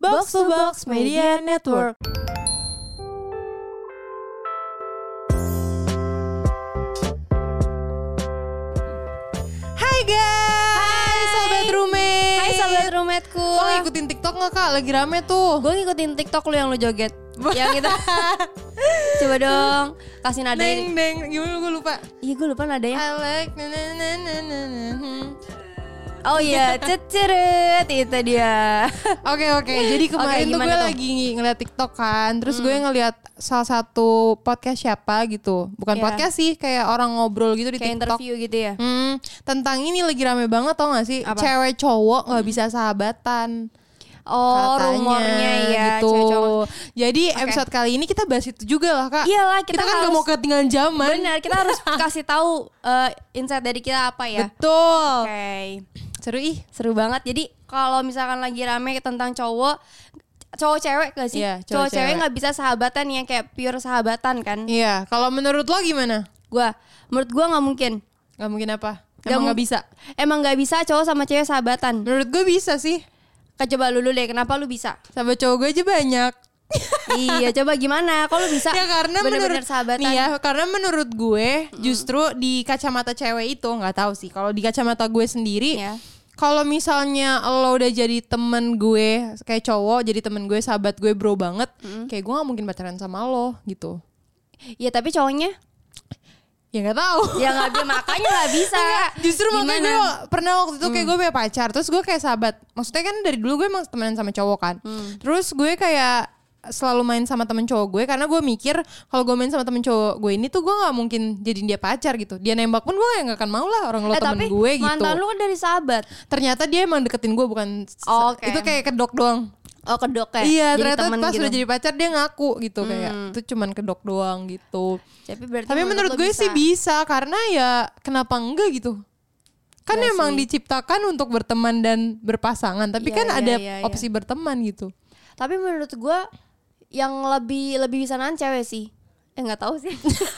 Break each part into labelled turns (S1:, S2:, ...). S1: Box to Box Media Network.
S2: Hai guys. Hai sobat roommate.
S1: Hai sahabat rumetku.
S2: Lo ngikutin TikTok nggak kak? Lagi rame tuh.
S1: Gue ngikutin TikTok lu yang lu joget. yang itu. Coba dong kasih nada.
S2: Neng neng gimana gue lupa.
S1: Iya gue lupa nadanya.
S2: I like na na na na na na. Hmm.
S1: Oh iya, ceceret itu dia.
S2: Oke oke. Jadi kemarin tuh
S1: gimana
S2: gue
S1: tuh? Hmm.
S2: lagi ng- ngeliat TikTok kan. Terus gue ngeliat salah satu podcast siapa gitu. Bukan
S1: Iya.
S2: podcast sih, kayak orang ngobrol gitu di
S1: Kayak
S2: TikTok.
S1: interview gitu ya.
S2: Hmm, tentang ini lagi rame banget tau gak sih?
S1: Apa?
S2: Cewek cowok nggak bisa sahabatan.
S1: Oh,
S2: katanya,
S1: rumornya ya
S2: gitu.
S1: cowok-cowok.
S2: Jadi episode kali ini kita bahas itu juga lah kak.
S1: Iyalah, Iya kita
S2: kita, kan nggak
S1: harus-
S2: mau ketinggalan zaman.
S1: Benar, kita harus kasih tahu eh, insight dari kita apa ya.
S2: Betul.
S1: Oke.
S2: Seru ih.
S1: Seru banget. Jadi kalau misalkan lagi rame tentang cowok cowok cewek gak sih?
S2: Iya,
S1: cowok
S2: cowok-cewek.
S1: cewek nggak bisa sahabatan yang kayak pure sahabatan kan?
S2: Iya. Kalau menurut lo gimana?
S1: Gua menurut gua nggak mungkin.
S2: Gak mungkin apa?
S1: Nggak
S2: Emang
S1: mu-
S2: gak bisa.
S1: Emang nggak bisa cowok sama cewek sahabatan.
S2: Menurut gue bisa sih.
S1: Kak, Coba lu dulu deh, kenapa lu bisa?
S2: Sama cowok gue aja banyak.
S1: iya, coba gimana? Kalau lu bisa?
S2: Ya karena
S1: bener-bener
S2: menurut
S1: sahabatan.
S2: Nih ya, karena menurut gue justru di kacamata cewek itu nggak tahu sih. Kalau di kacamata gue sendiri
S1: Iya.
S2: Kalau misalnya lo udah jadi temen gue kayak cowok, jadi temen gue, sahabat gue, bro banget, kayak gue nggak mungkin pacaran sama lo gitu.
S1: Ya tapi cowoknya
S2: Ya nggak tahu.
S1: ya nggak bisa makanya nggak bisa.
S2: Justru makanya
S1: Ya, Gimana? Mm.
S2: gue pernah waktu itu kayak gue punya pacar Terus gue kayak sahabat Maksudnya kan dari dulu gue emang temenan sama cowok kan
S1: Mm.
S2: Terus gue kayak selalu main sama temen cowok gue Karena gue mikir kalau gue main sama temen cowok gue ini tuh gue gak mungkin jadiin dia pacar gitu Dia nembak pun gue gak akan mau lah orang lo
S1: Eh,
S2: temen
S1: tapi
S2: gue gitu
S1: mantan lu kan dari sahabat.
S2: Ternyata dia emang deketin gue bukan
S1: Oh, oke.
S2: Itu kayak kedok doang
S1: Oh kedok ya.
S2: Iya
S1: Jadi
S2: ternyata
S1: temen
S2: pas
S1: gitu.
S2: udah jadi pacar dia ngaku gitu Kayak itu cuman kedok doang gitu
S1: Tapi berarti
S2: tapi menurut
S1: lu
S2: gue
S1: bisa.
S2: sih bisa karena ya kenapa enggak gitu. Kan emang diciptakan untuk berteman dan berpasangan, tapi
S1: Iya,
S2: kan
S1: iya,
S2: ada
S1: iya, iya.
S2: opsi berteman gitu.
S1: Tapi menurut gue yang lebih lebih bisa nahan cewek sih. Eh nggak tahu sih. Iya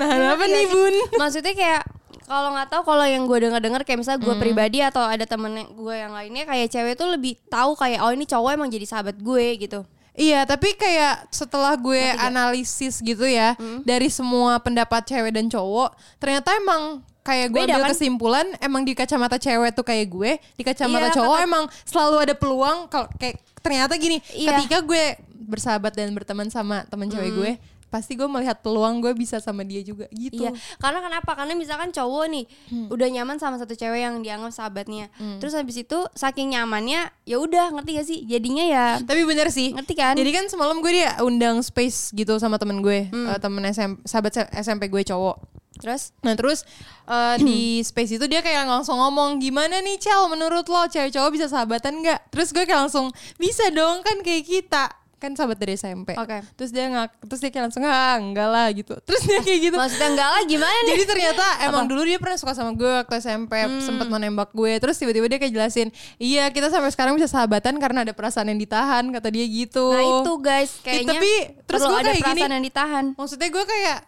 S2: Nah, apa nih, Bun?
S1: Maksudnya kayak kalau nggak tahu kalau yang gue denger dengar kayak misalnya gue
S2: Hmm.
S1: pribadi atau ada temen yang- gue yang lainnya kayak cewek tuh lebih tahu kayak oh ini cowok emang jadi sahabat gue gitu.
S2: Iya, tapi kayak setelah gue analisis gitu ya
S1: Hmm.
S2: dari semua pendapat cewek dan cowok, ternyata emang kayak gue
S1: Beda
S2: ambil
S1: kan?
S2: kesimpulan emang di kacamata cewek tuh kayak gue, di kacamata
S1: Iya,
S2: cowok
S1: kata-
S2: emang selalu ada peluang kalau kayak ternyata gini,
S1: Iya. Hmm.
S2: ketika gue bersahabat dan berteman sama teman cewek gue, pasti gue melihat peluang gue bisa sama dia juga gitu.
S1: Iya, karena kenapa? Karena misalkan cowok nih
S2: Hmm.
S1: udah nyaman sama satu cewek yang dianggap sahabatnya. Terus habis itu saking nyamannya ya udah ngerti gak sih? Jadinya ya
S2: Tapi bener sih.
S1: ngerti kan?
S2: Jadi kan semalam gue dia undang space gitu sama temen gue, eh, temen SM, sahabat SMP gue cowok.
S1: Hmm. Terus
S2: Nah terus eh, di space itu dia kayak langsung ngomong gimana nih Cel menurut lo cewek cowok bisa sahabatan nggak? Terus gue kayak langsung bisa dong kan kayak kita kan sahabat dari SMP.
S1: Oke.
S2: Terus dia ngak, terus dia kayak langsung ah enggak lah gitu. Terus dia kayak gitu.
S1: maksudnya enggak lah gimana nih?
S2: Jadi ternyata emang dulu dia pernah suka sama gue waktu SMP
S1: Hmm.
S2: sempet menembak gue terus tiba-tiba dia kayak jelasin iya kita sampai sekarang bisa sahabatan karena ada perasaan yang ditahan kata dia gitu.
S1: Nah itu guys kayaknya
S2: tapi terus gue
S1: perlu ada
S2: kayak gini.
S1: perasaan yang ditahan.
S2: maksudnya gue kayak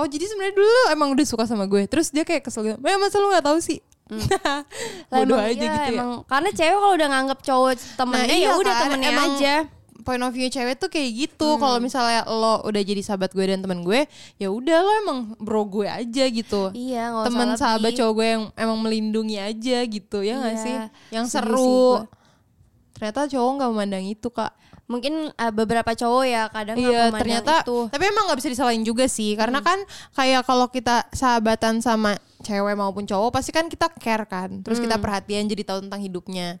S2: oh jadi sebenarnya dulu lu emang udah suka sama gue terus dia kayak kesel gitu ya masa lu nggak tahu sih
S1: Hmm. Lah,
S2: bodoh
S1: emang
S2: aja
S1: iya,
S2: gitu ya
S1: emang karena cewek kalau udah nganggep cowok temennya ya udah
S2: kan,
S1: temennya
S2: emang
S1: aja. Hmm.
S2: point of view cewek tuh kayak gitu kalau misalnya lo udah jadi sahabat gue dan temen gue ya udah lo emang bro gue aja gitu
S1: Iya, nggak usah
S2: temen
S1: lebih.
S2: sahabat cowok gue yang emang melindungi aja gitu ya nggak
S1: Iya,
S2: sih yang
S1: setuju sih
S2: seru
S1: gue.
S2: ternyata cowok nggak memandang itu kak
S1: Mungkin eh, beberapa cowok ya kadang nggak
S2: Iya
S1: memandang
S2: ternyata
S1: itu. Hmm.
S2: tapi emang nggak bisa disalahin juga sih karena kan kayak kalau kita sahabatan sama cewek maupun cowok pasti kan kita care kan terus kita perhatian jadi tahu tentang hidupnya
S1: Hmm.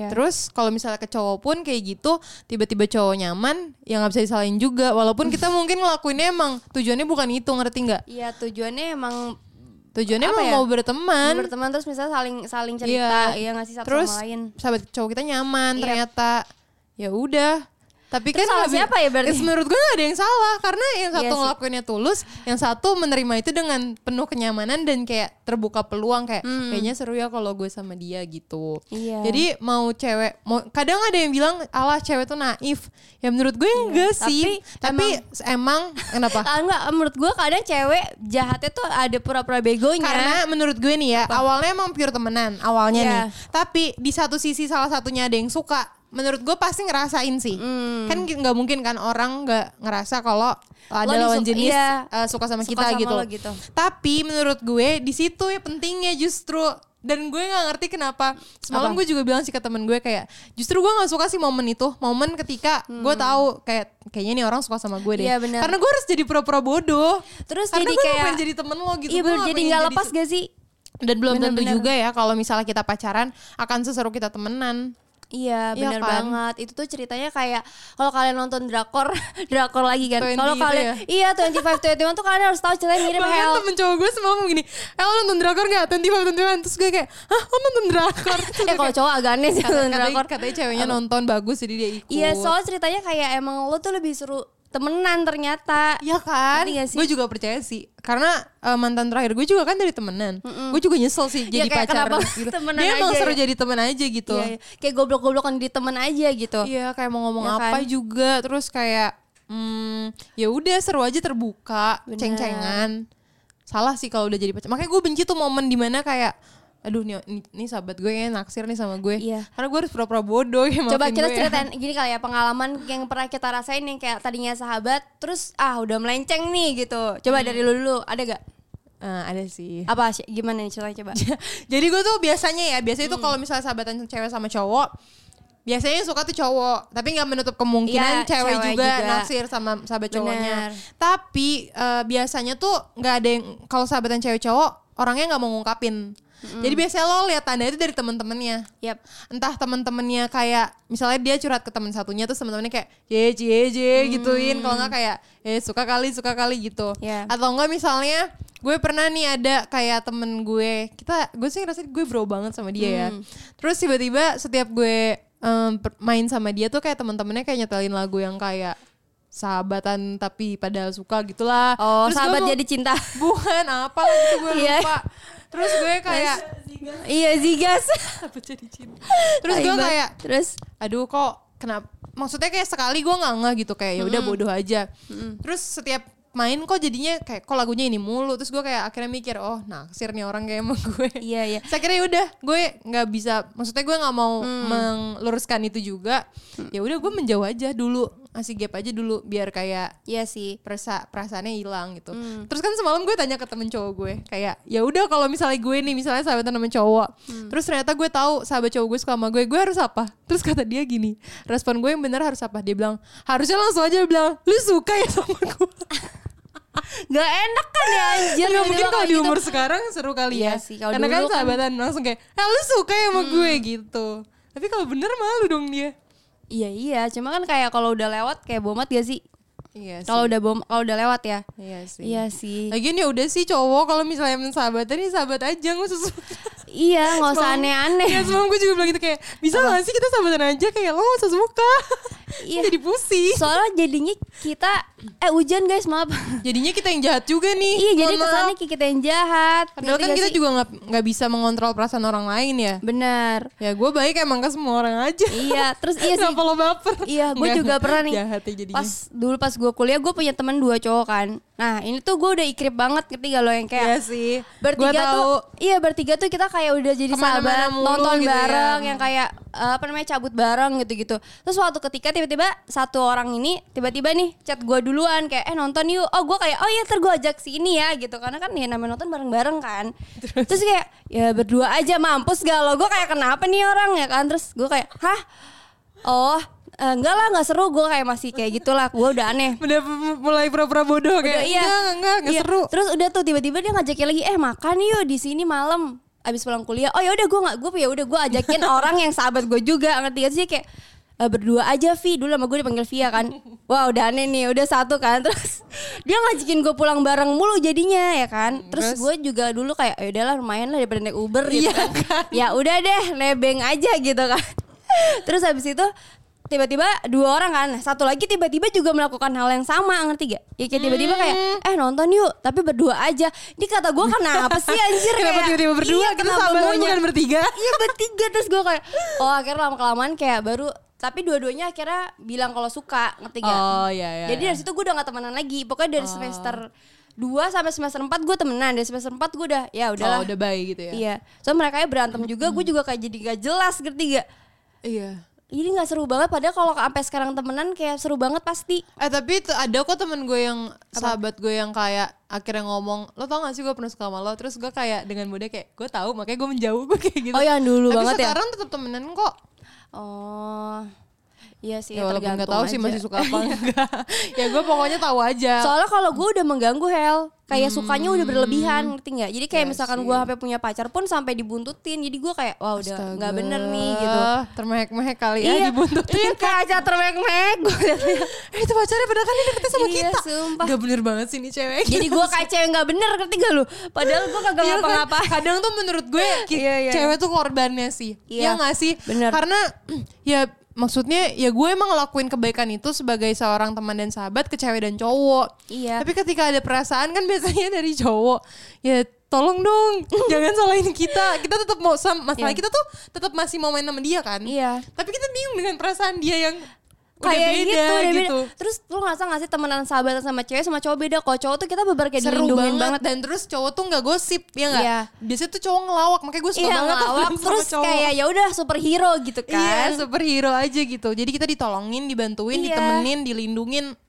S1: Iya.
S2: terus kalau misalnya ke cowok pun kayak gitu tiba-tiba cowok nyaman ya nggak bisa disalahin juga walaupun kita mungkin ngelakuinnya emang tujuannya bukan itu ngerti nggak
S1: Iya tujuannya emang
S2: tujuannya
S1: Apa
S2: emang
S1: ya?
S2: mau berteman
S1: berteman terus misalnya saling saling cerita ya ngasih satu
S2: terus
S1: sama lain.
S2: sahabat cowok kita nyaman
S1: Iya.
S2: ternyata ya udah tapi kan
S1: Terus salah
S2: nggak bi-
S1: siapa ya berarti?
S2: Terus menurut gue gak ada yang salah karena yang satu
S1: Iya sih.
S2: ngelakuinnya tulus yang satu menerima itu dengan penuh kenyamanan dan kayak terbuka peluang kayak kayaknya seru ya kalau gue sama dia gitu
S1: Hmm. Iya.
S2: jadi mau cewek mau kadang ada yang bilang Allah cewek tuh naif ya menurut gue enggak
S1: Iya. Tapi
S2: sih tapi emang, kenapa
S1: Ah, enggak menurut gua kadang cewek jahatnya tuh ada pura-pura begonya.
S2: Karena menurut gue nih ya, awalnya emang pure temenan awalnya
S1: Iya.
S2: nih. Tapi di satu sisi salah satunya ada yang suka menurut gue pasti ngerasain sih
S1: Hmm.
S2: kan nggak mungkin kan orang nggak ngerasa kalau ada
S1: Lo
S2: lawan
S1: disuka-
S2: jenis
S1: iya.
S2: eh, suka sama
S1: Suka
S2: kita
S1: sama
S2: gitu.
S1: lo gitu.
S2: tapi menurut gue di situ ya pentingnya justru dan gue nggak ngerti kenapa semalam
S1: Apa?
S2: gue juga bilang sih ke temen gue kayak justru gue nggak suka sih momen itu momen ketika gue tahu kayak kayaknya nih orang suka sama gue deh
S1: Hmm. Iya, benar.
S2: karena gue harus jadi pura-pura bodoh
S1: Terus
S2: karena
S1: jadi
S2: gue
S1: kayak-
S2: pengen jadi temen lo gitu
S1: iya
S2: Gue
S1: bener, jadi
S2: pengen
S1: nggak lepas gak sih
S2: dan belum tentu
S1: Bener-bener.
S2: juga ya kalau misalnya kita pacaran akan seseru kita temenan
S1: Iya
S2: Iya
S1: benar
S2: kan?
S1: banget itu tuh ceritanya kayak kalau kalian nonton drakor drakor lagi kan
S2: 20
S1: kalau
S2: itu
S1: kalian iya 25 21 tuh kalian harus tahu ceritanya mirip
S2: Bahkan
S1: hell
S2: temen cowok gue semalam gini Eh lo nonton drakor gak? Twenty five, twenty one Terus gue kayak Hah lo nonton drakor? Terus
S1: eh
S2: gue
S1: kalau
S2: kayak,
S1: cowok agak aneh sih
S2: katanya,
S1: nonton drakor
S2: katanya ceweknya nonton bagus jadi dia ikut
S1: iya soal ceritanya kayak emang lo tuh lebih seru temenan ternyata
S2: Iya kan?
S1: Ngerti gak sih?
S2: Gue juga percaya sih Karena eh, mantan terakhir gue juga kan dari temenan Gue juga nyesel sih jadi
S1: Iya, kayak
S2: pacar
S1: kenapa
S2: gitu.
S1: temenan
S2: Dia emang
S1: aja
S2: seru
S1: ya?
S2: jadi temen aja gitu
S1: Iya, iya. kayak goblok-goblokan di temen aja gitu
S2: Iya kayak mau ngomong
S1: Iya
S2: apa
S1: kan?
S2: juga terus kayak hmm, ya udah seru aja terbuka
S1: Bener.
S2: ceng-cengan salah sih kalau udah jadi pacar makanya gue benci tuh momen dimana kayak aduh nih, nih, nih sahabat gue kayaknya naksir nih sama gue
S1: Iya.
S2: karena gue harus pura-pura bodoh ya
S1: Coba
S2: maafin
S1: kita
S2: gue ya.
S1: ceritain gini kali ya pengalaman yang pernah kita rasain yang kayak tadinya sahabat terus ah udah melenceng nih gitu.
S2: Hmm.
S1: Coba dari lu dulu ada gak?
S2: Eh, ada sih
S1: Apa sih? Gimana nih ceritanya coba?
S2: jadi gue tuh biasanya ya biasanya tuh kalau misalnya sahabatan cewek sama cowok biasanya yang suka tuh cowok tapi nggak menutup kemungkinan
S1: Iya,
S2: cewek,
S1: cewek
S2: juga,
S1: juga.
S2: naksir sama sahabat cowoknya
S1: Benar.
S2: tapi eh, biasanya tuh nggak ada yang kalau sahabatan cewek cowok orangnya nggak mau ngungkapin jadi biasanya lo lihat tanda itu dari temen-temennya
S1: Yap.
S2: entah temen-temennya kayak misalnya dia curhat ke teman satunya terus temen-temennya kayak ye cie cie
S1: Hmm.
S2: gituin kalau nggak kayak eh suka kali suka kali gitu
S1: Iya.
S2: atau enggak misalnya gue pernah nih ada kayak temen gue kita gue sih ngerasa gue bro banget sama dia
S1: Hmm.
S2: ya terus tiba-tiba setiap gue em, per- main sama dia tuh kayak temen-temennya kayak nyetelin lagu yang kayak sahabatan tapi padahal suka gitulah
S1: Oh,
S2: Terus gue
S1: sahabat
S2: mau-
S1: jadi cinta.
S2: bukan apa lah gitu gue
S1: Iya.
S2: lupa terus gue kayak
S1: iya Zigas.
S2: sahabat jadi cinta terus gue
S1: Aibat.
S2: kayak
S1: terus
S2: aduh kok kenapa maksudnya kayak sekali gue nggak nggak gitu kayak ya udah bodoh aja terus setiap main kok jadinya kayak kok lagunya ini mulu terus gue kayak akhirnya mikir oh naksir nih orang kayak emang gue
S1: iya iya.
S2: saya kira udah gue nggak bisa maksudnya gue nggak mau meluruskan itu juga ya udah gue menjauh aja dulu ngasih gap aja dulu biar kayak
S1: Iya sih.
S2: perasa perasaannya hilang gitu.
S1: Hmm.
S2: Terus kan semalam gue tanya ke temen cowok gue kayak ya udah kalau misalnya gue nih misalnya sahabatan sama cowok,
S1: Hmm.
S2: terus ternyata gue tahu sahabat cowok gue suka sama gue, gue harus apa? Terus kata dia gini, respon gue yang benar harus apa? Dia bilang harusnya langsung aja bilang lu suka ya sama gue.
S1: Gak Ah, enak kan ya
S2: Nggak
S1: anjir. tiba-tiba
S2: mungkin kalau
S1: kayak
S2: di
S1: gitu.
S2: umur sekarang seru kali ya.
S1: Iya sih, kalau
S2: Karena kan
S1: dulu kan- Hmm.
S2: sahabatan langsung kayak eh, lu suka ya sama gue gitu. Tapi kalau bener malu dong dia.
S1: Iya iya, cuma kan kayak kalau udah lewat kayak bomat gak sih?
S2: Iya
S1: Kalau udah bom kalau udah lewat ya.
S2: Iya sih.
S1: Iya sih.
S2: Lagian ya udah sih cowok kalau misalnya emang sahabatan ya sahabat aja nggak usah suka.
S1: Iya, nggak usah
S2: Semalam- Iya
S1: aneh-aneh.
S2: semalam gue juga bilang gitu kayak bisa gak sih kita sahabatan aja kayak lo gak usah suka.
S1: Iya.
S2: Jadi pusing.
S1: Soalnya jadinya kita eh hujan guys, maaf.
S2: Jadinya kita yang jahat juga nih.
S1: Iya jadi
S2: Mohon maaf.
S1: kesannya kayak kita yang jahat.
S2: Padahal
S1: Ngerti
S2: kan
S1: gak
S2: kita
S1: sih?
S2: juga nggak nggak bisa mengontrol perasaan orang lain ya.
S1: benar.
S2: Ya gue baik emang ke semua orang aja.
S1: Iya, terus iya sih.
S2: Kenapa lo baper?
S1: Iya, gue
S2: Nggak,
S1: juga pernah nih.
S2: Jahat ya jadinya.
S1: Pas dulu pas gue kuliah gue punya teman dua cowok kan. Nah ini tuh gue udah ikrip banget ketiga lo yang
S2: Iya
S1: kayak
S2: sih. Gue
S1: bertiga
S2: tahu.
S1: tuh iya bertiga tuh kita kayak udah jadi
S2: Kemana-mana
S1: sahabat
S2: mulu
S1: nonton
S2: gitu ya.
S1: bareng yang kayak eh, apa namanya cabut bareng gitu-gitu terus suatu ketika tiba-tiba satu orang ini tiba-tiba nih chat gue duluan kayak eh nonton yuk oh gue kayak oh iya ntar gue ajak si ini ya gitu karena kan ya namanya nonton bareng-bareng kan terus, kayak ya berdua aja mampus gak lo gue kayak kenapa nih orang ya kan terus gue kayak hah oh eh, enggak lah nggak seru gue kayak masih kayak gitulah gue udah aneh
S2: Udah mulai pura-pura bodoh kayak
S1: Udah, iya.
S2: enggak enggak enggak
S1: Iya.
S2: seru.
S1: Terus udah tuh tiba-tiba dia ngajakin lagi, eh makan yuk di sini malam. Abis pulang kuliah, oh ya udah gue nggak gue ya udah gue ajakin orang yang sahabat gue juga ngerti gak sih kayak "Eh, berdua aja Vi dulu sama gue dipanggil Via kan Wah udah aneh nih udah satu kan Terus dia ngajakin gue pulang bareng mulu jadinya ya kan
S2: Terus?
S1: Terus,
S2: Iya
S1: gue juga dulu kayak ya udahlah lumayan lah daripada naik Uber gitu kan. Ya udah deh nebeng aja gitu kan Terus habis itu tiba-tiba dua orang kan Nah, satu lagi tiba-tiba juga melakukan hal yang sama ngerti gak? Ya kayak tiba-tiba kayak
S2: Hmm.
S1: eh nonton yuk tapi berdua aja ini kata gue kenapa sih anjir
S2: Kenapa
S1: kayak,
S2: tiba-tiba berdua?
S1: iya,
S2: kita
S1: kenapa
S2: sahabatan
S1: maunya?
S2: bukan bertiga.
S1: iya bertiga terus gue kayak oh akhirnya lama kelamaan kayak baru tapi dua-duanya akhirnya bilang kalau suka ngerti gak?
S2: Oh, iya, iya,
S1: jadi
S2: iya. Oh.
S1: dari situ gue udah gak temenan lagi pokoknya dari semester 2 sampai semester 4 gue temenan dari semester 4 gue udah ya udahlah
S2: Oh, udah baik gitu ya. Hmm.
S1: iya so mereka berantem juga gue juga kayak jadi gak jelas ngerti gak?
S2: Iya.
S1: Jadi nggak seru banget padahal kalau sampai sekarang temenan kayak seru banget pasti.
S2: Eh tapi itu ada kok temen gue yang sahabat gue yang kayak akhirnya ngomong lo tau gak sih gue pernah suka sama lo terus gue kayak dengan mudah kayak gue tahu makanya gue menjauh gue kayak gitu
S1: Oh, yang dulu
S2: tapi
S1: banget ya?
S2: sekarang tetap temenan kok
S1: Oh. Iya sih,
S2: ya walaupun nggak
S1: tergantung
S2: tahu sih
S1: aja.
S2: masih suka apa enggak ya gue pokoknya tahu aja
S1: Soalnya kalau gue udah mengganggu Hel, kayak
S2: Hmm.
S1: sukanya udah berlebihan, ngerti nggak? Jadi
S2: Ya
S1: kayak misalkan gue sampai punya pacar pun sampai dibuntutin, jadi gue kayak wah udah nggak bener nih gitu.
S2: termehek-mehek kali ya dibuntutin
S1: iya kayak aja termek-mek gue liatnya.
S2: eh, itu pacarnya padahal kan dia deketnya sama
S1: Iya,
S2: kita
S1: sumpah.
S2: gak bener banget sih nih cewek
S1: Jadi gue kayak cewek nggak bener, ngerti gak lu? Padahal gue kagak
S2: Iya kan?
S1: ngapa-ngapa.
S2: kadang tuh menurut gue ki-
S1: Iya, iya,
S2: cewek tuh korbannya sih
S1: Iya,
S2: ya nggak sih
S1: bener.
S2: karena ya maksudnya ya gue emang ngelakuin kebaikan itu sebagai seorang teman dan sahabat ke cewek dan cowok
S1: Iya.
S2: tapi ketika ada perasaan kan biasanya dari cowok ya tolong dong jangan salahin kita kita tetap mau sam- masalah
S1: Iya.
S2: kita tuh tetap masih mau main sama dia kan
S1: Iya.
S2: tapi kita bingung dengan perasaan dia yang udah
S1: Kayak
S2: beda
S1: gitu, udah
S2: gitu,
S1: beda. Terus lu ngerasa gak sih temenan sahabatan sama cewek sama cowok beda? Kalau cowok tuh kita bebar kayak
S2: seru
S1: dilindungin
S2: banget.
S1: banget.
S2: dan terus cowok tuh nggak gosip ya nggak
S1: Iya.
S2: biasanya tuh cowok ngelawak makanya gue suka
S1: Iya
S2: banget
S1: ngelawak,
S2: temenan sama
S1: terus
S2: cowok.
S1: kayak ya udah superhero gitu
S2: Iya,
S1: kan.
S2: superhero aja gitu. Jadi kita ditolongin, dibantuin,
S1: Iya.
S2: ditemenin, dilindungin.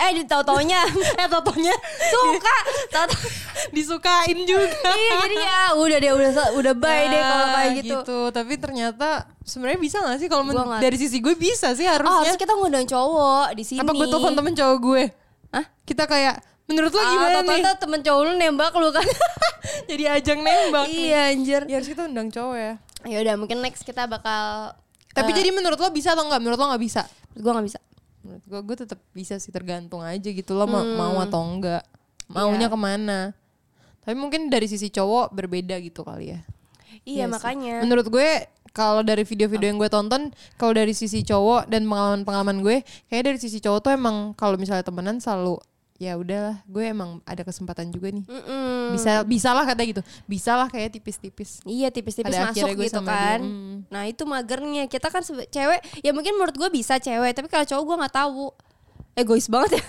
S1: Eh di tau-taunya
S2: Eh, totonya
S1: suka. Tau-tau-
S2: disukain juga.
S1: iya jadi ya udah deh udah udah bye deh kalau
S2: Nah,
S1: kayak gitu.
S2: Tapi ternyata sebenarnya bisa gak sih kalau men-
S1: Gua nggak-
S2: dari sisi gue bisa sih
S1: Oh,
S2: harusnya.
S1: harusnya kita ngundang cowok di sini.
S2: Apa gue telepon temen cowok gue?
S1: Hah?
S2: Kita kayak menurut lo
S1: Ah,
S2: gimana
S1: tau-tau
S2: nih?
S1: tuh temen cowok lu nembak lu kan.
S2: Jadi ajang nembak. nih.
S1: iya anjir.
S2: Ya harus kita undang cowok ya.
S1: Ya udah mungkin next kita bakal Ah.
S2: Tapi jadi menurut lo bisa atau nggak? Menurut lo nggak bisa?
S1: gue nggak bisa.
S2: Menurut gue, gue tetap bisa sih tergantung aja gitu lo mau, mau atau enggak. Maunya
S1: Iya.
S2: kemana. Tapi mungkin dari sisi cowok berbeda gitu kali ya.
S1: Iya,
S2: sih.
S1: makanya.
S2: Menurut gue kalau dari video-video yang gue tonton, kalau dari sisi cowok dan pengalaman-pengalaman gue, kayak dari sisi cowok tuh emang kalau misalnya temenan selalu ya udahlah, gue emang ada kesempatan juga nih.
S1: Mm-mm.
S2: Bisa bisalah kata gitu. Bisalah kayak tipis-tipis.
S1: Iya tipis-tipis
S2: Pada
S1: masuk
S2: akhirnya gue
S1: gitu
S2: sama dia.
S1: kan.
S2: Hmm.
S1: Nah itu magernya kita kan sebe- cewek ya mungkin menurut gue bisa cewek tapi kalau cowok gue nggak tahu egois banget ya.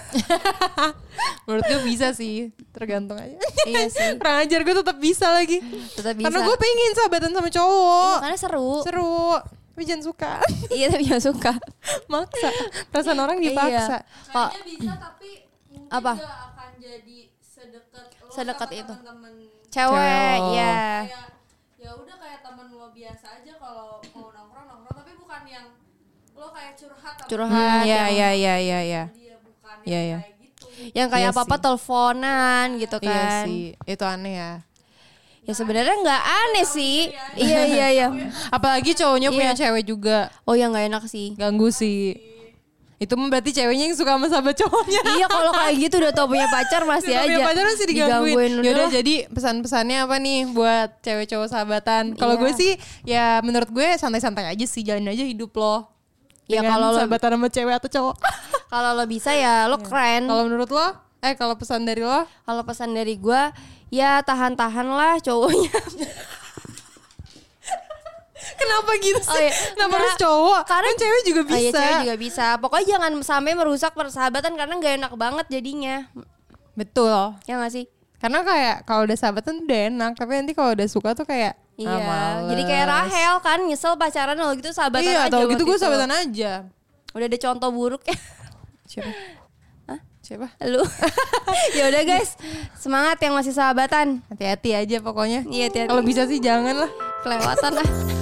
S2: Menurut gue bisa sih, tergantung aja.
S1: Iya sih.
S2: Kurang ajar gue tetap bisa lagi.
S1: Tetap bisa.
S2: Karena gue pengen sahabatan sama
S1: Iya,
S2: cowok.
S1: karena seru.
S2: Oh. Seru. Tapi jangan suka.
S1: Iya tapi gak suka.
S2: Maksa. Perasaan orang
S1: Iya.
S2: dipaksa.
S1: Kok Hmm.
S3: Kayaknya bisa tapi mungkin
S1: Apa?
S3: gak akan jadi sedekat lo
S1: Sedekat itu.
S3: sama
S1: Iya.
S3: temen-temen
S1: cewek
S2: Cowok.
S1: ya.
S3: kayak ya udah kayak temen lo biasa aja kalau mau nongkrong nongkrong tapi bukan yang lo kayak curhat sama
S1: Curhat.
S2: ya,
S1: yang-
S2: ya, ya, ya, ya.
S3: dia bukan
S2: Iya,
S3: yang
S2: iya.
S3: kayak gitu
S1: Yang kayak
S2: Iya
S1: apa-apa
S2: sih.
S1: teleponan gitu kan.
S2: Iya sih, itu aneh ya.
S1: Ya sebenarnya nggak aneh sih. iya iya iya.
S2: Apalagi cowoknya punya
S1: Iya.
S2: cewek juga,
S1: Oh ya nggak enak sih.
S2: ganggu sih. Itu mah berarti ceweknya yang suka sama sahabat cowoknya.
S1: iya kalau kayak gitu udah tau punya pacar
S2: Udah
S1: masih aja.
S2: punya pacar masih digangguin. Ya Yaudah
S1: Yaudah,
S2: jadi pesan-pesannya apa nih buat cewek cowok sahabatan? Kalau
S1: Iya.
S2: gue sih ya menurut gue santai-santai aja sih, jalanin aja hidup lo.
S1: Ya,
S2: Dengan
S1: kalau lo-
S2: sahabatan sama cewek atau cowok.
S1: kalau lo bisa ya lo
S2: Iya.
S1: keren.
S2: kalau menurut lo, eh kalau pesan dari lo,
S1: Kalau pesan dari gue ya tahan-tahan lah cowoknya.
S2: kenapa gitu sih?
S1: Oh, iya.
S2: Kenapa
S1: Nggak.
S2: harus cowok?
S1: Karena-
S2: Kan cewek juga
S1: Oh, iya,
S2: bisa.
S1: cewek juga bisa. Pokoknya jangan sampai merusak persahabatan karena nggak enak banget jadinya.
S2: Betul.
S1: Ya nggak sih?
S2: Karena kayak kalau udah sahabatan tuh udah enak, tapi nanti kalau udah suka tuh kayak
S1: Iya.
S2: ah, males.
S1: Jadi kayak Rahel kan nyesel pacaran kalau gitu sahabatan
S2: Iya,
S1: aja.
S2: atau gitu
S1: waktu
S2: gue
S1: itu.
S2: sahabatan aja.
S1: Udah ada contoh buruk ya.
S2: Siapa?
S1: Hah?
S2: Siapa?
S1: Lu. ya udah guys, semangat yang masih sahabatan.
S2: Hati-hati aja pokoknya.
S1: Iya, hati-hati.
S2: Kalau bisa sih jangan lah.
S1: Kelewatan lah.